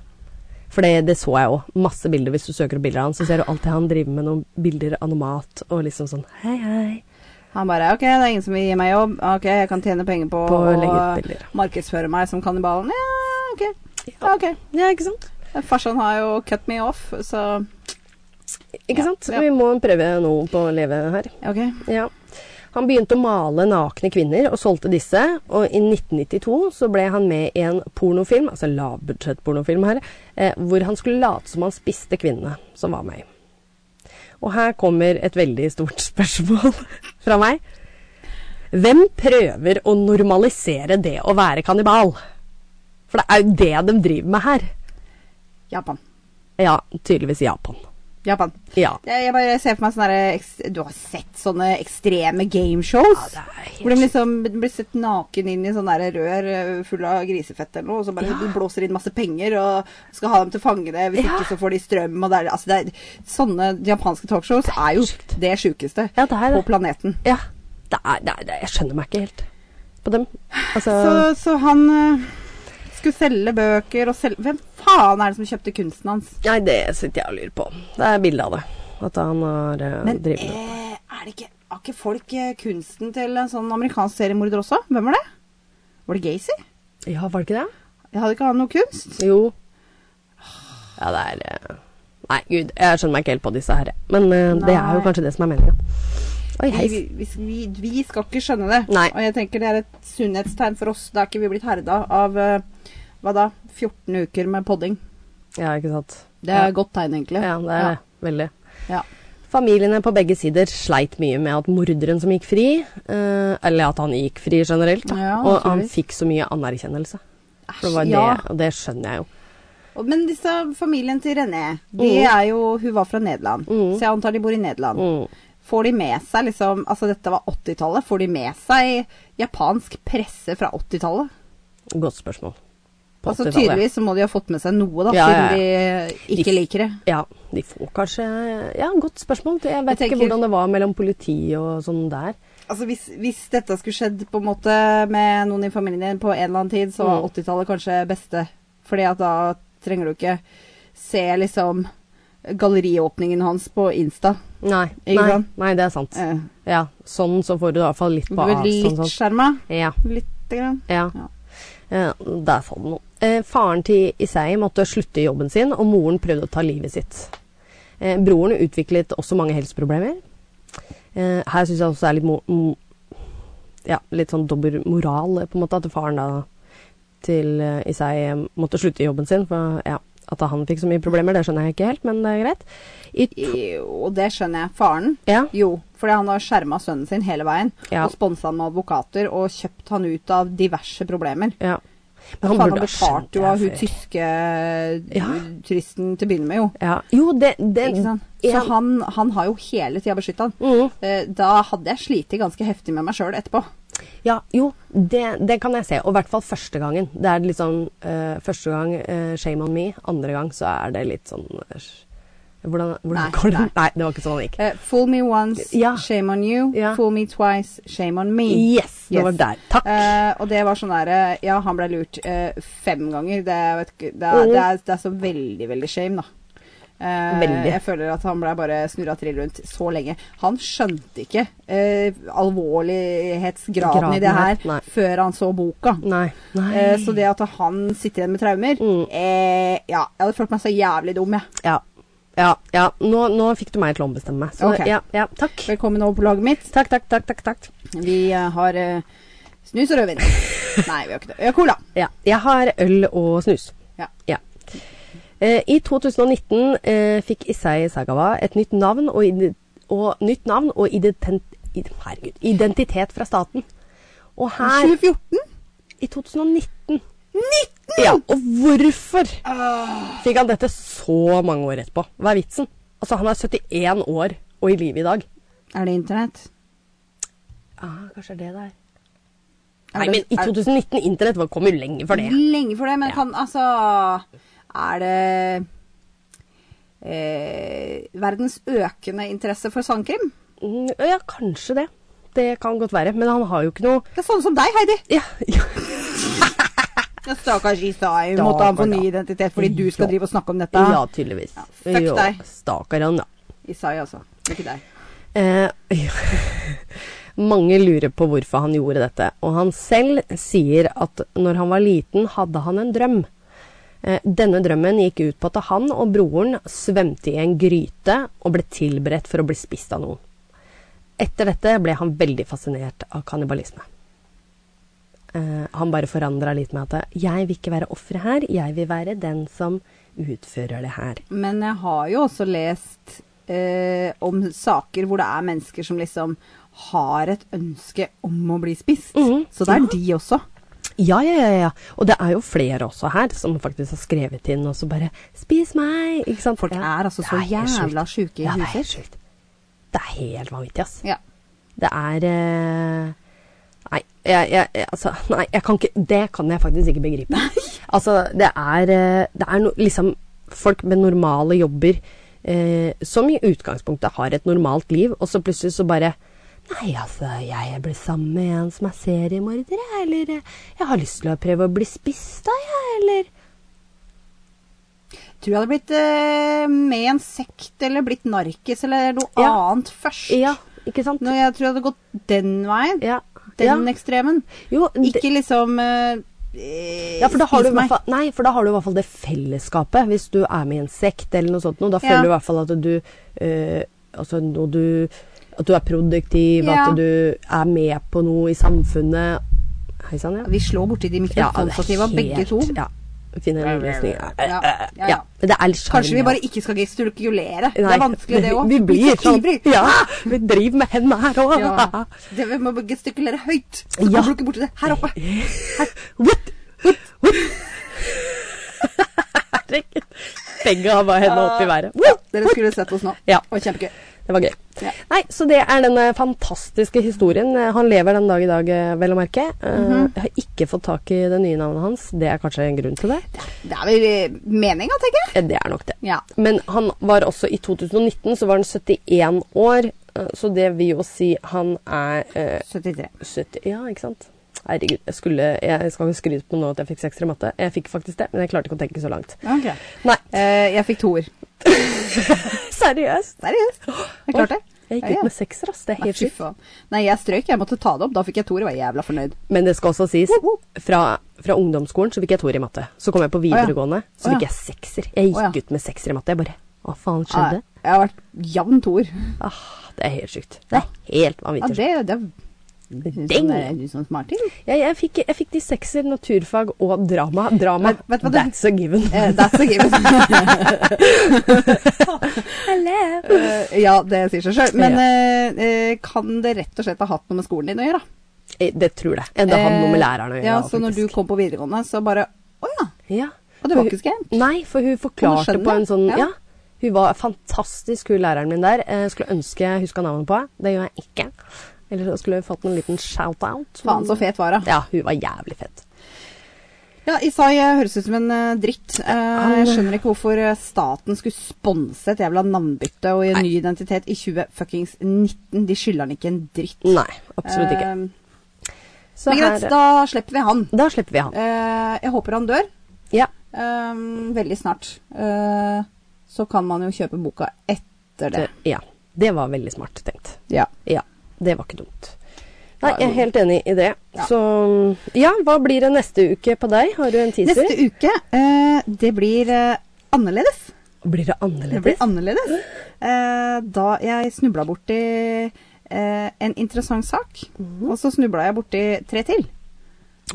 A: For det, det så jeg òg. Masse bilder. Hvis du søker opp bilder av han, så ser du alltid han driver med noen bilder av noe mat og liksom sånn hei, hei.
B: Han bare OK, det er ingen som vil gi meg jobb. OK, jeg kan tjene penger på,
A: På å
B: å
A: legge ut bilder.
B: markedsføre meg som kannibalen. Ja, OK. Ja, ok.
A: Ja, ikke sant?
B: Farsan har jo cut me off, så
A: Ikke
B: Ja,
A: sant?
B: ja.
A: Vi må prøve noe på å leve her.
B: OK.
A: Ja. Han begynte å male nakne kvinner og solgte disse, og i 1992 så ble han med i en pornofilm, altså lavbudsjett-pornofilm her, eh, hvor han skulle late som han spiste kvinnene som var med. Og her kommer et veldig stort spørsmål fra meg. Hvem prøver å normalisere det å være kannibal? For det er jo det de driver med her.
B: Japan.
A: Ja, tydeligvis Japan.
B: Japan.
A: Ja.
B: Jeg, jeg bare ser for meg sånne der eks- Du har sett sånne ekstreme gameshows?
A: Ja, det er helt-
B: Hvor de liksom blir sett naken inn i sånne der rør eh, full av grisefett eller noe, og så bare de blåser inn masse penger og skal ha dem til å fange det, hvis
A: Ja.
B: ikke så får de strøm og det er Altså, det er, sånne japanske talkshows er jo det sjukeste
A: Ja, det er det.
B: på planeten.
A: Ja. Det er, det er, det er, jeg skjønner meg ikke helt på dem. Altså,
B: Så, så han eh, skulle selge bøker og selge Hvem faen er det som kjøpte kunsten hans?
A: Nei, det sitter jeg og lurer på. Det er bilde av det. At han har eh,
B: Men
A: drevet med det.
B: eh, er det ikke, har ikke folk eh, kunsten til en sånn amerikansk seriemorder også? Hvem var det? Var det Gacy?
A: Ja, var det ikke det?
B: Jeg hadde ikke han noe kunst?
A: Jo. Ja, det er eh, Nei, gud, jeg skjønner meg ikke helt på disse her. Men eh, det er
B: Nei.
A: jo kanskje det som er meninga. Oi,
B: Vi,
A: heis.
B: vi, hvis vi, vi skal ikke skjønne det.
A: Nei.
B: Og jeg tenker det er et sunnhetstegn for oss. Da er ikke vi blitt herda av eh, hva da? 14 uker med podding.
A: Ja, ikke sant.
B: Det er et godt tegn, egentlig.
A: Ja, det er det. Veldig.
B: Ja.
A: Familiene på begge sider sleit mye med at morderen som gikk fri, eh, eller at han gikk fri generelt, da,
B: Ja,
A: og han
B: naturligvis.
A: fikk så mye anerkjennelse. For det var
B: ja.
A: det, og det skjønner jeg jo.
B: Og- Men disse familien til René, de
A: Mm.
B: er jo Hun var fra Nederland, så jeg antar de bor i Nederland.
A: Mm,
B: Får de med seg liksom Altså, dette var 80-tallet. Får de med seg japansk presse fra 80-tallet?
A: Godt spørsmål. På
B: Altså
A: 80-tallet.
B: tydeligvis så må de ha fått med seg noe, da,
A: Ja, ja, ja.
B: siden de ikke
A: De-
B: liker det.
A: Ja, de får kanskje Ja, godt spørsmål. Jeg vet
B: Jeg tenker-
A: ikke hvordan det var mellom politi og sånn der.
B: Altså hvis, hvis dette skulle skjedd på en måte med noen i familien din på en eller annen tid, så var
A: Mm.
B: 80-tallet kanskje beste. Fordi at da trenger du ikke se liksom galleriåpningen hans på Insta.
A: Nei,
B: Ikke
A: nei,
B: sant?
A: nei, det er sant.
B: Eh,
A: Ja, sånn så får du i hvert fall litt på avstand.
B: litt
A: Sånn.
B: skjerma.
A: Ja,
B: Lite grann.
A: ja.
B: Ja.
A: ja der sa du noe. Eh, faren til Isai måtte slutte i jobben sin, og moren prøvde å ta livet sitt. Eh, broren utviklet også mange helseproblemer. Eh, her syns jeg også det er litt mo mo ja, litt sånn dobbel moral, eh, på en måte, at faren da til eh, Isai eh, måtte slutte i jobben sin. For ja, At han fikk så mye problemer, det skjønner jeg ikke helt, men det er greit. I t
B: Jo, det skjønner jeg. Faren?
A: ja,
B: Jo, fordi han har skjerma sønnen sin hele veien.
A: Ja.
B: Og sponsa han med advokater og kjøpt han ut av diverse problemer.
A: ja.
B: Men han, han
A: ha skjønt
B: betalte jo av hun
A: før.
B: tyske
A: Ja.
B: turisten til å begynne med, jo.
A: Ja. Jo, det, det
B: Ikke sant? Så
A: en-
B: han, han har jo hele tida beskytta han.
A: Mhm.
B: Eh, Da hadde jeg slitt ganske heftig med meg sjøl etterpå.
A: Ja, jo, det, det kan jeg se. Og i hvert fall første gangen. Det er litt sånn eh, Første gang eh, shame on me, andre gang så er det litt sånn eh, Hvordan, hvordan
B: Nei,
A: går det?
B: nei.
A: Nei. det var ikke sånn det gikk.
B: Eh, fool me once,
A: Ja.
B: shame on you.
A: Ja.
B: Fool me twice, shame on me.
A: Yes, det
B: Yes.
A: var der. Takk.
B: Eh, og det var sånn der eh, Ja, han ble lurt eh, fem ganger. Det, er- vet, ikke- det, er,
A: Mhm.
B: det, er, det er så veldig, veldig shame, da. Eh,
A: Veldig.
B: Jeg føler at han ble bare snurra trill rundt så lenge. Han skjønte ikke eh, alvorlighetsgraden
A: Graden
B: i det her
A: her, nei.
B: før han så boka.
A: Nei. nei.
B: Eh, så det at han sitter igjen med traumer
A: Mm.
B: eh, Ja, jeg hadde følt meg så jævlig dum, jeg.
A: Ja. Ja, ja. Nå, nå fikk du meg til å ombestemme meg. Så
B: Ok.
A: ja, ja, takk.
B: Velkommen over på laget mitt.
A: Takk, takk, takk. takk, takk.
B: Vi eh, har eh, snus og rødvin. Nei, vi har ikke det. Vi har cola.
A: Ja. Jeg har øl og snus.
B: Ja.
A: Eh, I 2019 eh, fikk Isai Sagawa et nytt navn og, ide- og, nytt navn og identen, id- herregud, identitet fra staten. Og her
B: 2014?
A: i 2019 Ja, Og hvorfor fikk han dette så mange år etterpå? Hva er vitsen? Altså, han er 71 år og i live i dag.
B: Er det internett?
A: Ah, kanskje det der.
B: Er
A: Nei, men
B: det-
A: i
B: er-
A: 2019 Internett var- kom jo lenge for det.
B: Lenge for det, men
A: Ja.
B: kan altså Er det eh, verdens økende interesse for sandkrim?
A: Mm, Ja, kanskje det. Det kan godt være. Men han har jo ikke noe
B: Det er sånne som deg, Heidi.
A: Ja, ja.
B: Ja, Stakkars Isai.
A: Da,
B: Måtte han få
A: da.
B: ny identitet fordi du skal
A: Ja.
B: drive og snakke om dette?
A: Ja, tydeligvis.
B: Ja, fuck
A: Jo,
B: deg.
A: Stakkar han, da.
B: Isai, altså. Ikke deg.
A: Eh, ja. mange lurer på hvorfor han gjorde dette, og han selv sier at når han var liten, hadde han en drøm. Eh, denne drømmen gikk ut på at han og broren svømte i en gryte og ble tilberedt for å bli spist av noen. Etter dette ble han veldig fascinert av kannibalisme. Eh, han bare forandra litt med at 'jeg vil ikke være offeret her, jeg vil være den som utfører det her'.
B: Men jeg har jo også lest eh, om saker hvor det er mennesker som liksom har et ønske om å bli spist.
A: Mhm.
B: Så det er de også.
A: Ja, ja, ja, ja. Og det er jo flere også her som faktisk har skrevet inn og så bare 'Spis meg!' Ikke sant?
B: Folk
A: Ja.
B: er altså
A: Det
B: så
A: helt sjukt.
B: jævla sjuke i
A: Ja, det er
B: huset.
A: helt sjukt. Det er helt vanvittig, ass.
B: Ja.
A: Det er eh, Nei, jeg, jeg, jeg- altså, nei jeg kan ikke, det kan jeg faktisk ikke begripe. Altså, det er, eh, det er no, liksom folk med normale jobber eh, som i utgangspunktet har et normalt liv, og så plutselig så bare Nei, altså, jeg blir sammen med en som er seriemorder, jeg, eller eh, Jeg har lyst til å prøve å bli spist av, jeg, eller
B: Tror jeg hadde blitt eh, med i en sekt eller blitt narkis eller noe
A: Ja.
B: annet først.
A: Ja, ikke sant?
B: Når jeg tror jeg hadde gått den veien.
A: Ja. ja.
B: Den ekstremen.
A: Jo, det-
B: Ikke liksom eh, eh,
A: Ja, for da, har du
B: spis
A: i hvert
B: meg.
A: fall, nei, for da har du i hvert fall det fellesskapet. Hvis du er med i en sekt eller noe sånt, noe, da
B: Ja.
A: føler du i hvert fall at du, eh, altså, når du At du er produktiv,
B: Ja.
A: at du er med på noe i samfunnet. Hei sann, ja.
B: Vi slår borti de mikrofonstativa, begge to.
A: Ja. Finner en løsning. Ja.
B: Ja, ja, ja.
A: Ja, men Det er litt
B: Kanskje vi
A: sjarmerende.
B: bare ikke skal gestikulere. Det
A: Nei,
B: er vanskelig, det òg.
A: Vi blir sånn.
B: ivrig.
A: Ja, vi driver med hendene her òg.
B: Ja. Det, vi må gestikulere høyt. Så
A: Ja.
B: kommer du ikke borti det. Her oppe.
A: What? What? What? Herregud. Begge har bare hendene opp i været. What?
B: Dere skulle sett oss nå.
A: Ja.
B: Det var kjempegøy.
A: Det var gøy.
B: Ja.
A: Nei, så det er denne fantastiske historien. Eh, Han lever den dag i dag, eh, vel å merke. Eh,
B: Mhm.
A: Jeg har ikke fått tak i det nye navnet hans. Det er kanskje en grunn til det.
B: Det er vel eh, meninga, tenker jeg.
A: Eh, Det er nok det.
B: Ja.
A: Men han var også i 2019, så var han 71 år. eh, Så det vil jo si han er eh,
B: 73.
A: 70 Ja, ikke sant? Herregud, jeg, skulle, jeg skal ikke skryte på nå at jeg fikk sekser i matte. Jeg fikk faktisk det, men jeg klarte ikke å tenke så langt.
B: Ok.
A: Nei,
B: Eh, jeg fikk toer.
A: seriøst.
B: Seriøst. Jeg klarte det.
A: Jeg
B: Ja,
A: gikk
B: ja.
A: ut med sekser, ass. Det er
B: Nei,
A: helt
B: fy
A: sjukt.
B: faen. Nei, jeg strøyk. Jeg måtte ta det opp. Da fikk jeg toer og var jævla fornøyd.
A: Men det skal også sies,
B: Woop, woop.
A: fra, fra ungdomsskolen så fikk jeg toer i matte. Så kom jeg på videregående, så
B: Å ja.
A: fikk jeg sekser. Jeg gikk
B: Å ja.
A: ut med sekser i matte. Jeg bare Hva faen
B: Ja,
A: skjedde?
B: Jeg har vært jevn toer.
A: Ah, det er helt sjukt. Det er helt
B: Ja,
A: vanvittig.
B: det, det Hun
A: Ding!
B: som, er- hun som smarting.
A: Jeg, jeg, fikk, jeg fikk de sekser, naturfag og drama. Drama,
B: Vet- vet du hva det-
A: that's a given.
B: Eh, that's a given.
A: Hello.
B: Eh, ja, det sier seg sjøl. Men eh, eh, kan det rett og slett ha hatt noe med skolen din å gjøre?
A: Eh, Det tror jeg. Enn det har noe med
B: Eh,
A: læreren å gjøre.
B: Ja, så når du
A: faktisk.
B: kom på videregående, så bare Å ja.
A: ja.
B: Og det var ikke skam?
A: Nei, for hun forklarte
B: skjønner
A: på en
B: det.
A: sånn
B: Ja.
A: Ja. Hun var fantastisk, hun læreren min der. Jeg skulle ønske jeg huska navnet på henne. Det gjør jeg ikke. Eller så skulle jeg fått en liten shout-out.
B: Faen så fet var hun.
A: Ja, hun var jævlig fett.
B: Ja, Isai eh, høres ut som en eh, dritt. Eh, jeg skjønner ikke hvorfor eh, staten skulle sponse et jævla navnbytte og en ny identitet i 2019. De skylder han ikke en dritt.
A: Nei, absolutt ikke.
B: Eh,
A: Så
B: men greit,
A: her-
B: da slipper vi han.
A: da slipper vi han.
B: Eh, jeg håper han dør
A: Ja.
B: eh, veldig snart. Eh, så kan man jo kjøpe boka etter det.
A: Det, ja. det var veldig smart tenkt.
B: Ja.
A: Ja, det var ikke dumt. Nei,
B: Nei,
A: jeg er helt enig i det.
B: Ja.
A: Så ja, hva blir det neste uke på deg? Har du en teaser?
B: Neste uke, eh, det blir eh, annerledes.
A: Blir det
B: Det blir
A: annerledes?
B: annerledes. Eh, da jeg snubla borti eh, en interessant sak, og så snubla jeg borti tre til.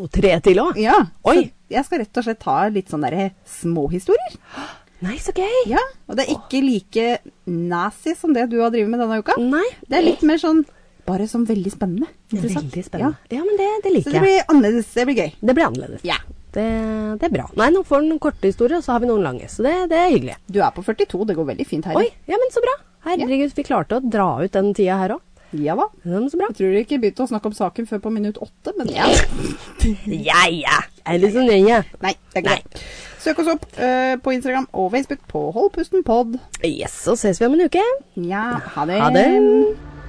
A: Og tre til òg?
B: Ja.
A: Oi.
B: Så jeg skal rett og slett ta litt sånn sånne derre småhistorier.
A: Nei, så gøy!
B: Ja. Og det er ikke like nasty som det du har drevet med denne uka.
A: Nei.
B: Det er litt mer sånn bare sånn veldig spennende. Interessant.
A: Veldig spennende. Ja, men det, det
B: Ja. Så
A: liker
B: det
A: jeg.
B: blir annerledes. Det blir gøy.
A: Det blir annerledes.
B: Ja.
A: Det, det er bra. Nei, nå får du noen korte historier, og så har vi noen lange. Så det, det er hyggelig.
B: Du er på 42, det går veldig fint her.
A: Oi, ja, men så bra. Herregud, vi klarte å dra ut den tida her òg.
B: Ja da.
A: Ja, men så bra.
B: Jeg tror ikke jeg begynte å snakke om saken før på minutt åtte, men
A: Ja, ja. Jeg er litt sånn så nøye.
B: Nei, det er ikke det. Søk oss opp eh, på Instagram og Facebook på Holdpusten pod.
A: Yes, så ses vi om en uke.
B: Ja, ha det.
A: Ha det.